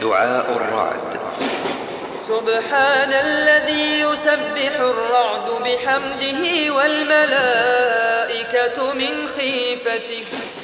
دعاء الرعد سبحان الذي يسبح الرعد بحمده والملائكة من خيفته